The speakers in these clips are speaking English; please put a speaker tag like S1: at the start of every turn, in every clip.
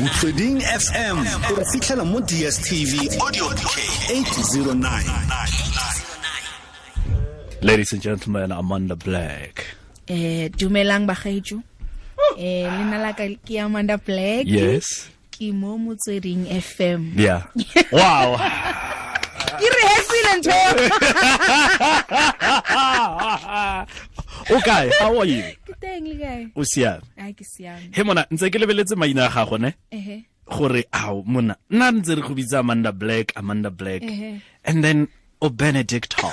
S1: motsweding fm o re fitlhela mo dstv audio k 809
S2: Ladies and gentlemen, Amanda Black.
S3: eh dumelang bagaetso eh lena la ka ke Amanda Black
S2: Yes.
S3: ke mo motsweding FM
S2: Yeah. wow.
S3: ke re hetsile ntho eo.
S2: okay, how are you?
S3: ke teng le kae
S2: O siame.
S3: ai ke siame
S2: He mona ntse ke lebeletse maina a gago ne
S3: ehe
S2: gore ao mona nna ntse re go bitsa Amanda Black, Amanda Black.
S3: Ehe.
S2: And then o Benedict Hall.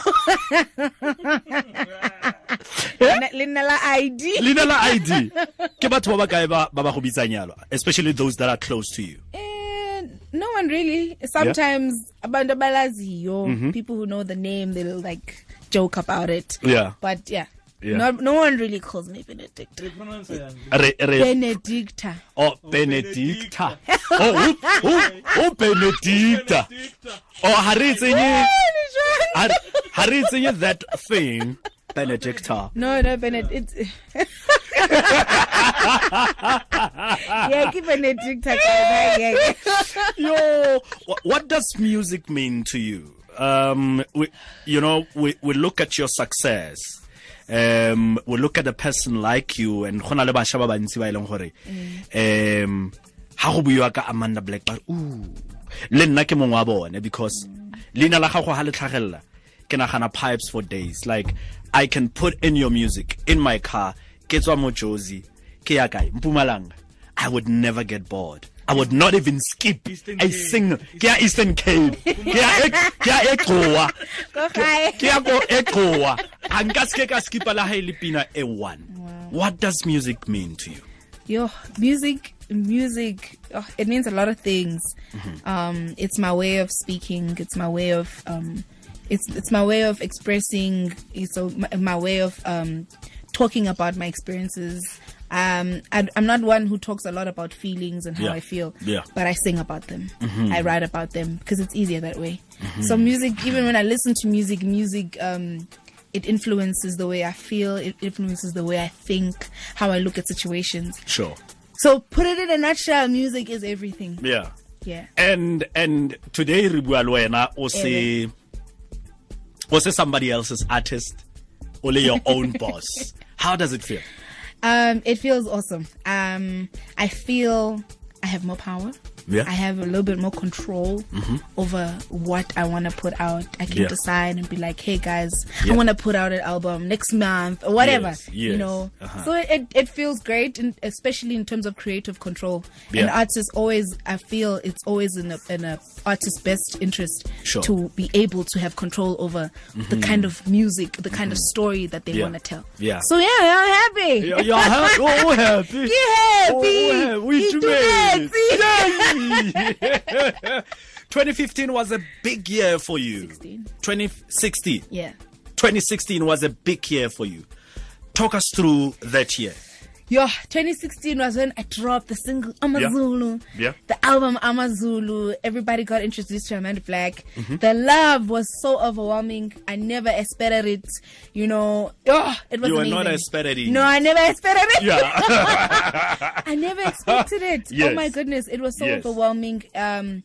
S3: Lena- lena la ID
S2: Leina la ID. Ke batho ba ba kae ba ba ba go bitsang yalo, especially those that are close to you.
S3: Eh, no one really sometimes abantu abalaziyo
S2: Mm-hmm.
S3: people who know the name they'll like joke about it
S2: Yeah.
S3: but yeah
S2: Yeah.
S3: Not, no one really calls me Benedicta.
S2: Re re
S3: Benedicta.
S2: oh Benedicta. Oh, o- o o Benedicta. Oh, ha re tsenye ha ha re tsenye that thing Benedicta.
S3: No, no, Benedict. It's... yeah, keep Benedict. Yeah, yeah.
S2: Yo, wh- what does music mean to you? Um, we, you know, we, we look at your success. Um, we look at a person like you and go na le basha ba bantsi ba eleng gore um ha go buiwa ka Amanda Black ba ooh le nna ke mongwe wa bone because leina la gago ha le tlhagella ke nagana pipes for days like I can put in your music in my car ke tswa mo Jozi ke ya kae Mpumalanga I would never get bored I would not even skip a single ke ya Eastern Cape e, ke ya Ek- ke ya Eqhoa
S3: Go high.
S2: ke ya ko e qoa a nka se ke ka skipa la ha e le pina e one what does music mean to you
S3: Yo, music, music. Oh, it means a lot of things.
S2: Mm-hmm.
S3: Um, it's my way of speaking. It's my way of um, it's it's my way of expressing. It's a, my, my way of um, talking about my experiences. Um, I, I'm not one who talks a lot about feelings and how
S2: Yeah.
S3: I feel.
S2: Yeah. Mm-hmm.
S3: but I sing about them. I write about them because it's easier that way. So music, even when I listen to music, music um, it influences the way I feel. It influences the way I think, how I look at situations.
S2: sure
S3: So put it in a nutshell, music is everything.
S2: yeah
S3: Yeah.
S2: and and today re bua le wena o se o se somebody else's artist o le your own boss how does it feel
S3: Um, it feels awesome. Um, I feel I have more power.
S2: Yeah. Mm-hmm.
S3: I have a little bit more control over what I want to put out. I can
S2: Yeah.
S3: decide and be like, "Hey guys,
S2: Yeah.
S3: I want to put out an album next month or whatever."
S2: Yes, yes.
S3: You know,
S2: Uh-huh.
S3: so it it feels great, in, especially in terms of creative control. And
S2: Yeah.
S3: artists always, I feel, it's always in a in a artist's best interest
S2: Sure. Mm-hmm.
S3: to be able to have control over the kind of music, the kind of story that they
S2: Yeah.
S3: want to tell.
S2: Yeah.
S3: So yeah, I'm happy.
S2: You're- you're happy. Oh, we're happy.
S3: Ke happy.
S2: Oh, we're happy.
S3: Ke itumetse.
S2: Yay! 2015 was a big year for you.
S3: 16.
S2: 2016.
S3: Yeah.
S2: 2016 was a big year for you. Talk us through that year.
S3: Yo, 2016 was when I dropped the single Amazulu,
S2: Yeah.
S3: the album Amazulu. Everybody got introduced to Amanda Black.
S2: Mm-hmm.
S3: The love was so overwhelming. I never expected it. You know, oh, it was
S2: You were
S3: amazing.
S2: not expecting it.
S3: No, I never expected it.
S2: Yeah.
S3: I never expected it.
S2: Yes.
S3: Oh my goodness, it was so
S2: Yes.
S3: overwhelming. Um,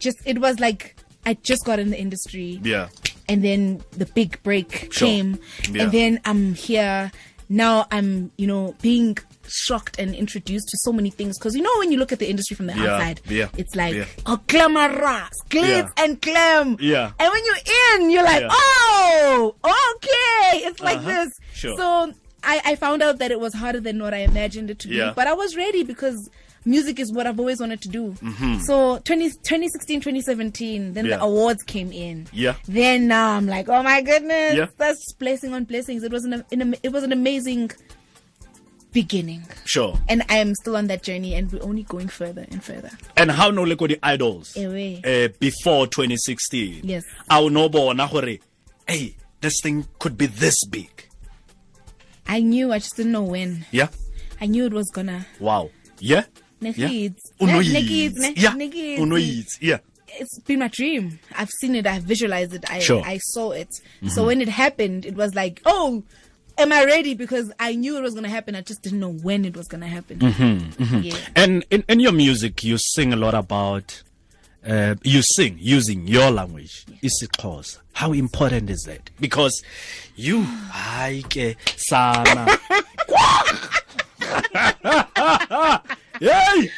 S3: just it was like I just got in the industry.
S2: yeah.
S3: and then the big break
S2: Sure.
S3: came
S2: Yeah.
S3: and then i'm here now i'm you know being shocked and introduced to so many things because you know when you look at the industry from the
S2: Yeah.
S3: outside
S2: Yeah.
S3: it's like
S2: Yeah.
S3: oh glamorous glitz
S2: Yeah.
S3: and glam
S2: Yeah.
S3: and when you're in you're like
S2: Yeah.
S3: oh okay it's like
S2: Uh-huh.
S3: this
S2: Sure.
S3: so I, I found out that it was harder than what I imagined it to
S2: Yeah.
S3: be, but I was ready because music is what I've always wanted to do. So 20, 2016, 2017, then
S2: Mm-hmm. Yeah.
S3: the awards came in.
S2: Yeah.
S3: Then now I'm like, oh my goodness,
S2: Yeah.
S3: that's blessing on blessings. It was an, an it was an amazing beginning,
S2: Sure.
S3: and I am still on that journey, and we're only going further and further.
S2: And how no like the idols
S3: Ewe.
S2: uh, before 2016.
S3: Yes.
S2: Our noble Nahore. Hey, this thing could be this big.
S3: I knew, I just didn't know when.
S2: Yeah.
S3: I knew it was gonna.
S2: Wow. Yeah.
S3: Nekids.
S2: Yeah.
S3: Ne-
S2: Unoyids.
S3: nekids, ne-
S2: Yeah.
S3: nekids.
S2: Unoyids. Yeah.
S3: It's been my dream. I've seen it. I visualized it. I
S2: Sure. Mm-hmm.
S3: I saw it. So when it happened, it was like, oh, am I ready? Because I knew it was going to happen. I just didn't know when it was going to happen.
S2: Mm-hmm.
S3: Yeah.
S2: And in, in your music, you sing a lot about, uh, you sing using your language, isiXhosa. How important is that? Because you, I ke sana. Yay!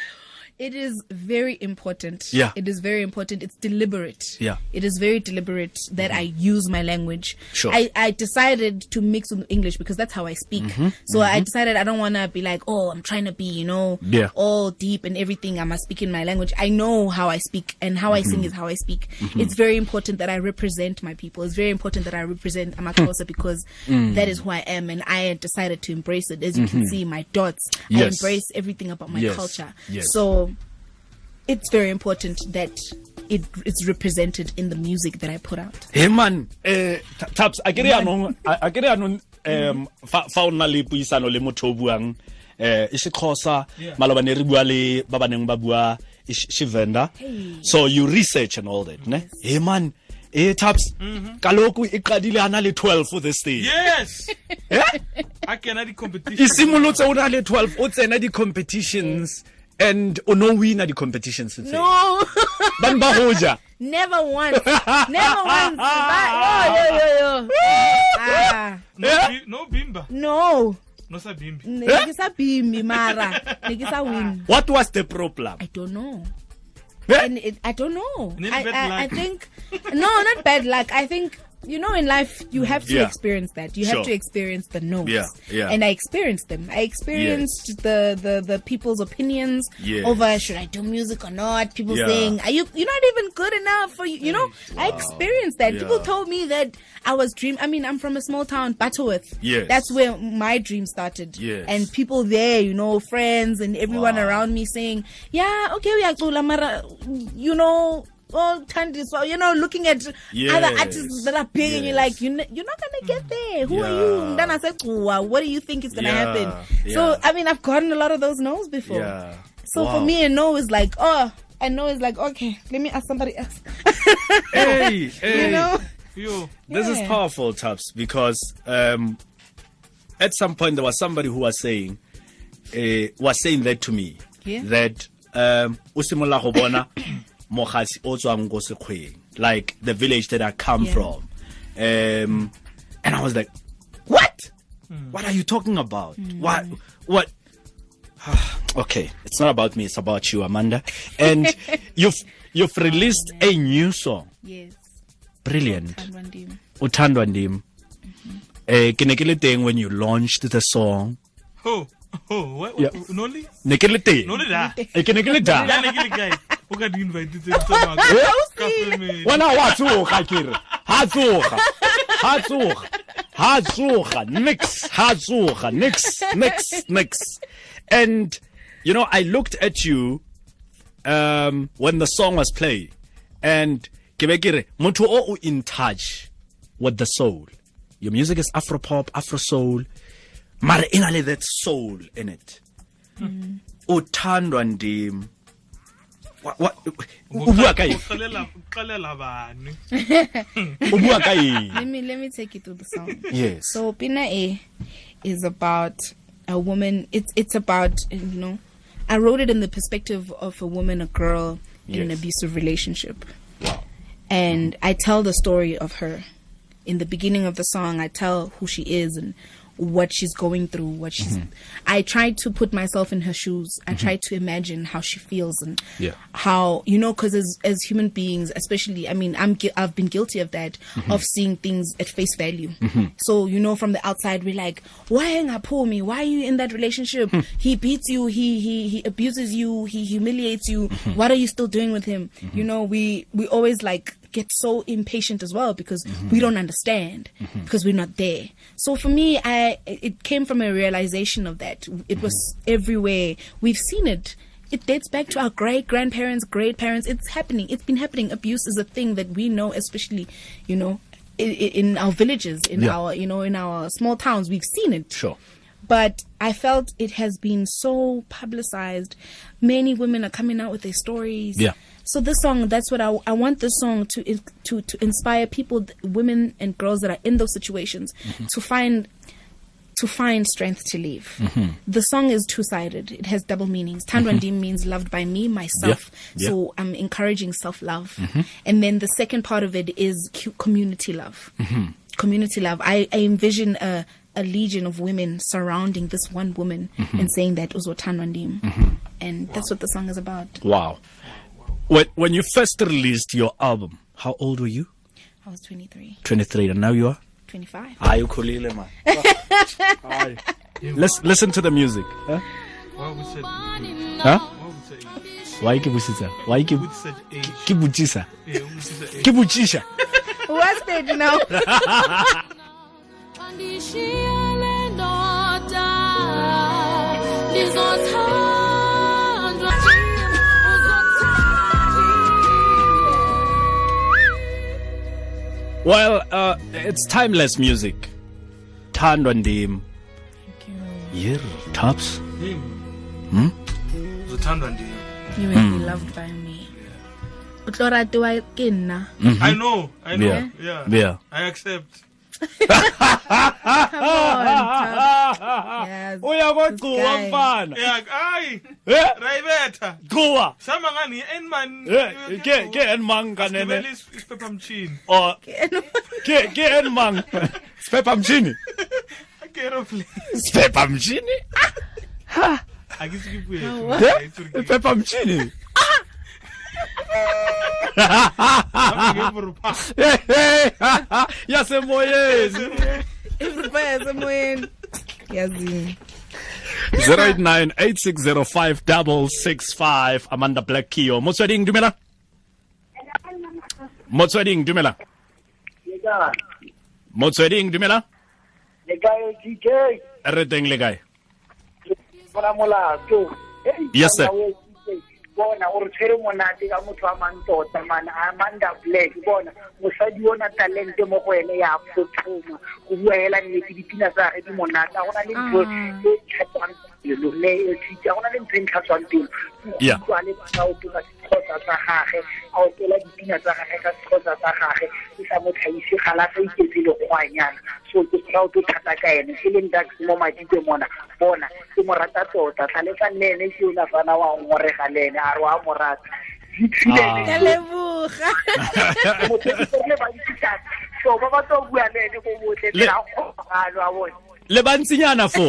S3: It is very important.
S2: Yeah.
S3: It is very important. It's deliberate.
S2: Yeah. Mm-hmm.
S3: It is very deliberate that I use my language.
S2: Sure.
S3: I, I decided to mix with English because that's how I speak.
S2: Mm-hmm.
S3: So I decided I don't want to be like, oh, I'm trying to be, you know,
S2: Yeah.
S3: all deep and everything. I must speak in my language. I know how I speak and how I
S2: Mm-hmm.
S3: sing is how I speak. It's very important that I represent my people. It's very important that I represent Amakosa
S2: Hmm.
S3: because
S2: Mm.
S3: that is who I am and I had decided to embrace it. As you can see, my dots. I
S2: Mm-hmm. Yes.
S3: embrace everything about my
S2: Yes.
S3: culture.
S2: Yes.
S3: So it's very important that it is represented in the music that I put out.
S2: Hey man, eh, Ta- Taps, a kere anong, a kere anong, um, fa fa o nna le puisano le motho o buang, eh, isiXhosa, malobane re bua le ba ba neng ba bua Ish- Xivenda. So you research and all that, ne? Hey man, eh, Taps,
S3: Mm-hmm.
S2: kaloku e qadile a na le 12 for this thing.
S4: Yes.
S2: Eh?
S4: I cannot the competition.
S2: E simolotse o na le 12, o tsena di-competitions and o no wina di-competitions tse.
S3: No,
S2: Bane ba go ja.
S3: never once, never once. Bye. Yo, yo, yo, yo. Ah,
S4: No,
S2: Yeah.
S4: bi- no bimba.
S3: no,
S4: No sa bimbi.
S3: negisa bimi mara, negisa win.
S2: What was the problem?
S3: I don't know.
S2: Eh?
S3: And it, I don't know.
S4: Then
S3: I,
S4: bad
S3: I, I
S4: luck.
S3: think no, not bad luck. I think you know in life you have to
S2: Mm. Yeah.
S3: experience that. You
S2: Sure.
S3: have to experience the no's.
S2: Yeah, yeah.
S3: And I experienced them. I experienced the, the the people's opinions
S2: Yes.
S3: over should I do music or not. People
S2: Yeah.
S3: saying are you you're not even good enough for you. You know I experienced that. People
S2: Yeah.
S3: told me that I was dream. I mean I'm from a small town, Butterworth.
S2: Yes.
S3: That's where my dream started.
S2: Yes.
S3: And people there, you know, friends and everyone
S2: Wow.
S3: around me saying, "Yeah, okay, we are cool, mara, you know." Oh, Tandi, so you know, looking at
S2: Yes.
S3: other artists that are big, and you're
S2: Yes.
S3: like, you kn- you're not gonna get there. Who are
S2: Yeah.
S3: you? Then I said, what do you think is gonna
S2: Yeah.
S3: happen?
S2: Yeah.
S3: So I mean, I've gotten a lot of those no's before.
S2: Yeah.
S3: So
S2: Wow.
S3: for me, a no is like, oh, a no is like, okay, let me ask somebody else.
S2: Hey, hey.
S3: you know,
S4: Yo.
S2: This is
S3: Yeah.
S2: powerful, Taps, because um, at some point there was somebody who was saying uh, was saying that to me
S3: Yeah.
S2: that um o simolla go bona mogasi o tswang ko sekgweng like the village that I come
S3: Yeah.
S2: from um and I was like what
S3: Hmm.
S2: what are you talking about what what okay it's not about me it's about you Amanda and you've you've released a new song
S3: yes,
S2: brilliant
S3: Randim.
S2: uthandwa ndim eh ke ne ke le teng when you launched the song
S4: Ho. Ho. What?
S2: Yeah.
S4: Noli?
S2: ne ke le teng
S4: Noli da.
S2: Eh, ke ne ke le da
S4: Yeah, like the guy who got invited to talk.
S2: wena wa tsoga kere ha tsoga ha tsoga ha tsoga nix ha tsoga nix nix nix and you know i looked at you um when the song was played and ke be ke re motho o o in touch with the soul your music is afro pop afro soul mara e na le that soul in it uthandwa ndim Wa- wa- o bua ka eng? o bua ka eng?
S3: Let me let me take you through the song.
S2: yes
S3: So Pina A is about a woman. It's it's about you know, I wrote it in the perspective of a woman, a girl in an
S2: Yes.
S3: abusive relationship, and I tell the story of her. In the beginning of the song, I tell who she is and what she's going through. What she's.
S2: Mm-hmm.
S3: I try to put myself in her shoes. I try to imagine how she feels and
S2: Yeah.
S3: how you know because as, as human beings especially i mean i'm gui- i've been guilty of that of seeing things at face value so you know from the outside we're like why hang up pull me why are you in that relationship he beats you he he he abuses you he humiliates you what are you still doing with him you know we we always like get so impatient as well because we don't understand because we're not there so for me i it came from a realization of that it was everywhere we've seen it it dates back to our great grandparents, great parents. It's happening. It's been happening. Abuse is a thing that we know, especially, you know, in, in our villages, in
S2: Yeah.
S3: our, you know, in our small towns. We've seen it.
S2: Sure.
S3: But I felt it has been so publicized. Many women are coming out with their stories.
S2: Yeah.
S3: So this song, that's what I, I want this song to in-
S2: Mm-hmm.
S3: to to inspire people, th- women and girls that are in those situations, to find to find strength to live. The song is two sided, it has double meanings. Tandwandim means loved by me, myself.
S2: Yeah.
S3: So I'm encouraging self love. And then the second part of it is cu- community love. Community love. I, I envision a, a legion of women surrounding this one woman and saying that Uzo Tandwandim. And that's what the song is about.
S2: Wow. When, when you first released your album, how old were you?
S3: I was 23,
S2: 23, and now you are?
S3: 25.
S2: Ayi ukhulile man. Ayi. Let's listen to the music. Huh?
S4: Why would such
S2: Huh?
S4: why would such
S2: Why ke butsisa? Why ke
S4: with such age? Eh,
S2: ke butsisa?
S4: Yeah, with such age.
S2: Ke butsisa.
S3: What's that now?
S5: Andishiyele ndoda, ndizothandwa ndim, uzothandwa ndim.
S2: Well, uh, it's timeless music. Thandwa ndim. Yir tops.
S4: Name. Hmm.
S2: Hmm?
S4: Uzothandwa ndiyo.
S3: You will be loved by me. Utloratiwa ke nna.
S2: Mm-hmm.
S4: I know, I know.
S2: Yeah.
S4: Yeah.
S2: Yeah.
S4: I accept.
S3: Yes.
S2: Oh, Uyakugcuwa
S3: This guy.
S2: mfana.
S4: Yeah, aye.
S2: Eh?
S4: Raibetha.
S2: Gcuwa.
S4: Sama ngani enman.
S2: Eh, ke ke enmang kanene.
S4: isiphephamtshini
S2: Or ke ke enmang. Spepha mjini.
S4: akeroplane
S2: Spepha mjini.
S4: akisikipuyetuaeburupa
S2: Spepha mjini. Hey, hey, yasemoyeni
S3: Ivuba yasemoyeni. Yazini.
S2: 08986056665 Amanda Black Kio Motsweding dumela Motsweding dumela
S6: Eka,
S2: Motsweding dumela
S6: eka yo TK,
S2: re teng le kae
S6: bona molato.
S2: Yes, sir.
S6: bona o re tshwere monate ka motho a mang tota mana amanda black bona mosadi o na talente mo go ene ya phothoma go bua hela nnete dipina tsa re di monate a gona le ntho e tlhatswang pelo le e tshitse a gona le ntho e ntlhatswang pelo
S2: Yeah.
S6: a le bana o tola sekgotsa tsa gage a opela dipina tsa gage ka sekgotsa tsa gage e sa mo thaise gala sa iketse le kgwanyana so ke proud thata ka ene e leng dax mo madite mona bona ke mo rata tota tlhalefa nene ke ona fana wa ngorega le ene a re wa mo rata
S3: Ke
S2: Ah.
S6: diphilele
S3: leboga.
S6: motlhokorile bantsi thata so ba batla go bua le ene go botle
S2: Le-
S6: ka kgogano a bone
S2: le bantsinyana fo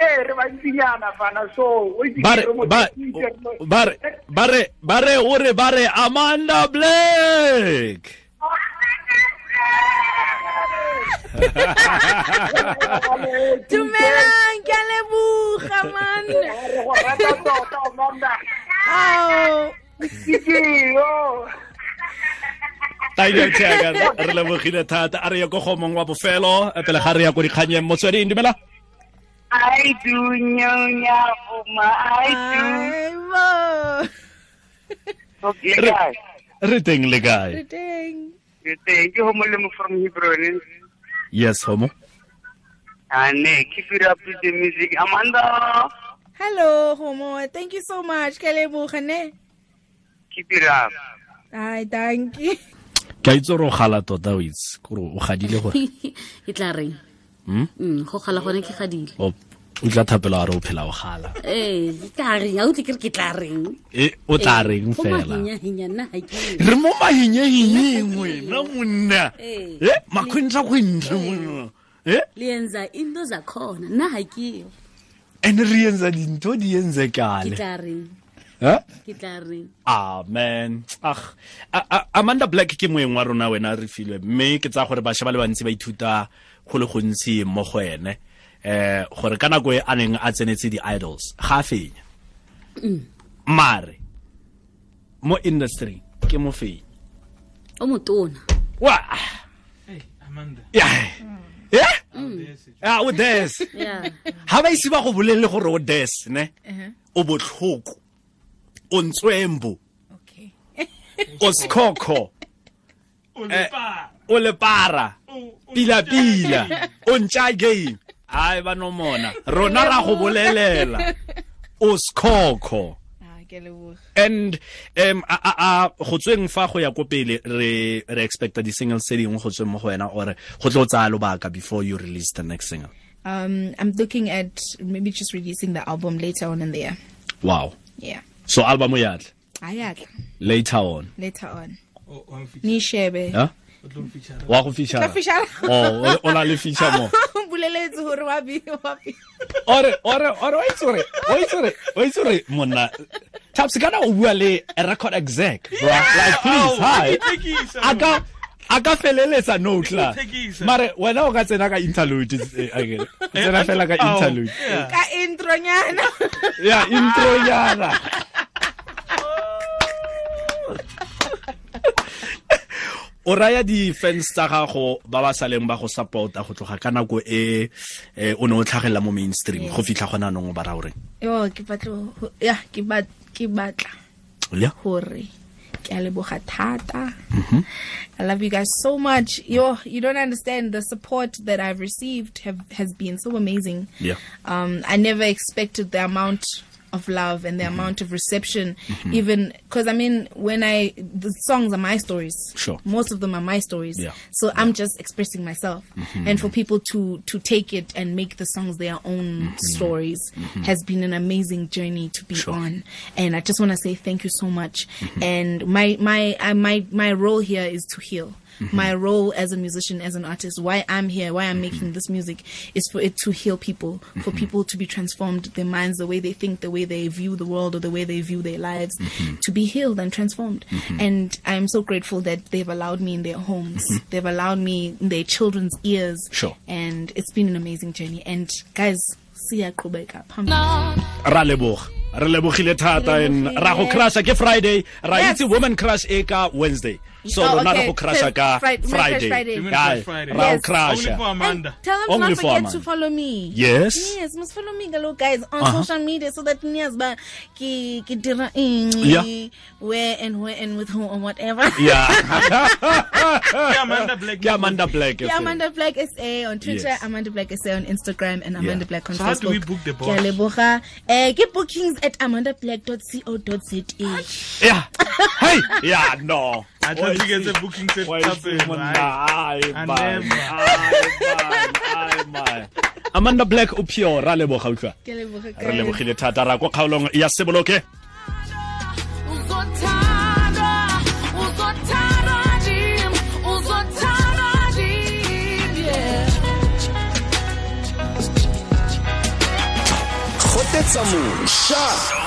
S6: ee re bantsinyana fana so o itse
S2: ba re
S6: ke re
S2: ba
S6: motlhokoile-
S2: ba re- ba re ba re o re ba re Amanda Black
S3: Dumelang, ke a leboga man. Ao.
S2: Tiger Tiger re lebogile thata a re ye ko gomong wa bofelo eh, pele ga re ya ko dikganyeng Motsweding dumela
S6: I do nyonya vuma I
S3: Ai bo.
S6: do okay guys
S2: re teng le kae
S3: Re teng.
S6: thank you homolemo from Hebron
S2: Yes, Homo.
S6: and uh, keep it up with the music Amanda
S3: Hello, Homo. Thank you so much. Ke leboga ne.
S6: keep it up
S3: Ai, thank you.
S2: Ke a itse gore o gala tota o itse gore o gadile gore
S7: e tla reng
S2: Hmm?
S7: Mm, go gala gone ke gadile
S2: o o tla thapelo a re o phela o gala.
S7: ee e tla reng a utlwe kere ke tla reng
S2: E o tla reng
S7: Go
S2: fela.
S7: mahinyahenya, nna ha ke-
S2: Re mo mahinyeng wena monna.
S7: Eh.
S2: Eh makhontsha go ntle monna. Eh
S7: liyenza into zakhona nna ha keyo
S2: and re yenza dintho di yenze
S7: ke
S2: kale.
S7: tla reng
S2: Eh?
S7: ke tla reng
S2: amen ag A- A- amanda black ke moeng wa rona wena a re filwe mme ke tsaya gore bašwa ba le bantsi ba ithuta go le gontsi mo go ene eh gore ka nako e a neng a tsenetse di-idols ga a fenya mare mo industry ke mo fenya
S7: o motona
S2: wa
S4: amanda
S2: ya Eh?
S4: yes,
S2: Ah, o des
S7: ya
S2: ga ba ise ba go bolelele gore o des ne o botlhoko o ntswembo
S3: Okay.
S2: o sekhokho
S4: Oh,
S2: Eh.
S4: ulipa
S2: o lepara
S4: O- o-
S2: pila-pila o ntša game ai ba no mona rona ra go bolelela o sekhokho
S3: Ah, ke leboga.
S2: and um a a a go tsweng fa go ya ko pele re re expecta di-singles tse dingwe go tsweng mo go wena ore go tlo o tsaya lobaka before you release the next single
S3: Um, I'm looking at maybe just releasing the album later on in the year.
S2: wow
S3: Yeah,
S2: so album yatle
S3: I had
S2: later on
S3: later on.
S4: O- o mfitlha-
S3: Nishebe.
S2: huh?
S4: o tlo mfitlha-
S2: wa go fitlhela oh o na le feature mo
S3: Buleletse hore wa bi- wa bi-
S2: ore ore ore wa itse gore wa itse gore wa itse gore monna taps kana o bua le a record exec bro like please hi
S4: Ithekisa,
S2: a ka a ka feleletsa note la
S4: Ithekisa.
S2: mare wena o ka tsena ka interlude eh, akere. O tsena fela ka
S4: Ao,
S2: interlude
S4: yeah.
S3: ka intro nyana.
S2: ya intro yana o raya di-fans tsa gago ba ba saleng ba go supporta go tloga ka nako e eh, o ne o tlhagelela mo mainstream go fitlha gona anong o ba raya goreng
S3: Yo, ke batla ho- ya ke bat- ke batla
S2: Olia?
S3: hore ke a leboga thata. I love you guys so much. Yo, you don't understand the support that I've received have, has been so amazing.
S2: Yeah.
S3: Um, I never expected the amount of love and the
S2: Mm-hmm.
S3: amount of reception, even because I mean, when I the songs are my stories.
S2: Sure.
S3: Most of them are my stories.
S2: Yeah. Mm-hmm.
S3: So I'm just expressing myself, and for people to to take it and make the songs their own
S2: Mm-hmm.
S3: stories has been an amazing journey to be on. And I just want to say thank you so much.
S2: Mm-hmm.
S3: And my my I, my my role here is to heal.
S2: Mm-hmm.
S3: My role as a musician, as an artist, why I'm here, why I'm making this music, is for it to heal people, for people to be transformed, their minds, the way they think, the way they view the world, or the way they view their lives, to be healed and transformed. And I'm so grateful that they've allowed me in their homes, they've allowed me in their children's ears.
S2: Sure.
S3: And it's been an amazing journey. And guys, see ya, Kubeka.
S2: ra leboga re lebogile thata and
S3: lebogile.
S2: ra go crusha ke friday ra
S3: Yes.
S2: itse women crush e ka wednesday so
S3: Oh,
S2: rona re
S3: okay.
S2: go crusha ka
S3: Fri- Women Crush
S2: friday
S3: Friday.
S4: Women
S2: Aye,
S4: Crush Friday.
S2: ra go
S3: Yes.
S4: Only for
S2: crusha
S4: Amanda.
S3: Tell them
S2: Only
S3: to not
S2: for a
S3: forget
S2: man.
S3: to follow me.
S2: Yes.
S3: Yes, must follow me, hello guys, on
S4: Uh-huh.
S3: social media so that Nias ba ki ki dira
S2: Yeah.
S3: yeah. where and where and with who and whatever.
S2: yeah
S4: Ke Amanda Black.
S2: ke Eh. amanda black
S3: Yeah, Amanda Black SA on Twitter,
S2: Yes.
S3: Amanda Black SA on Instagram, and Amanda
S2: Yeah.
S3: Black on
S4: So how
S3: Facebook.
S4: do we book the
S3: Ke a
S4: boss?
S3: leboga. Eh, get bookings at amandablack.co.za.
S2: yeah hey yeah no
S4: I thought you get the booking set
S2: Why
S4: up,
S2: is
S4: eh,
S2: it one-
S4: right?
S2: Aye,
S4: I
S2: man.
S4: never.
S2: Aye, man. Aye, man. amanda black o pure ra leboga utlwa
S3: Ke a leboga,
S2: re
S3: guys.
S2: lebogile thata ra kwa kgaolong ya seboloke
S5: Uzothandwa, uzothandwa ndim, uzothandwa ndim, yeah.
S1: gotetsa mošwa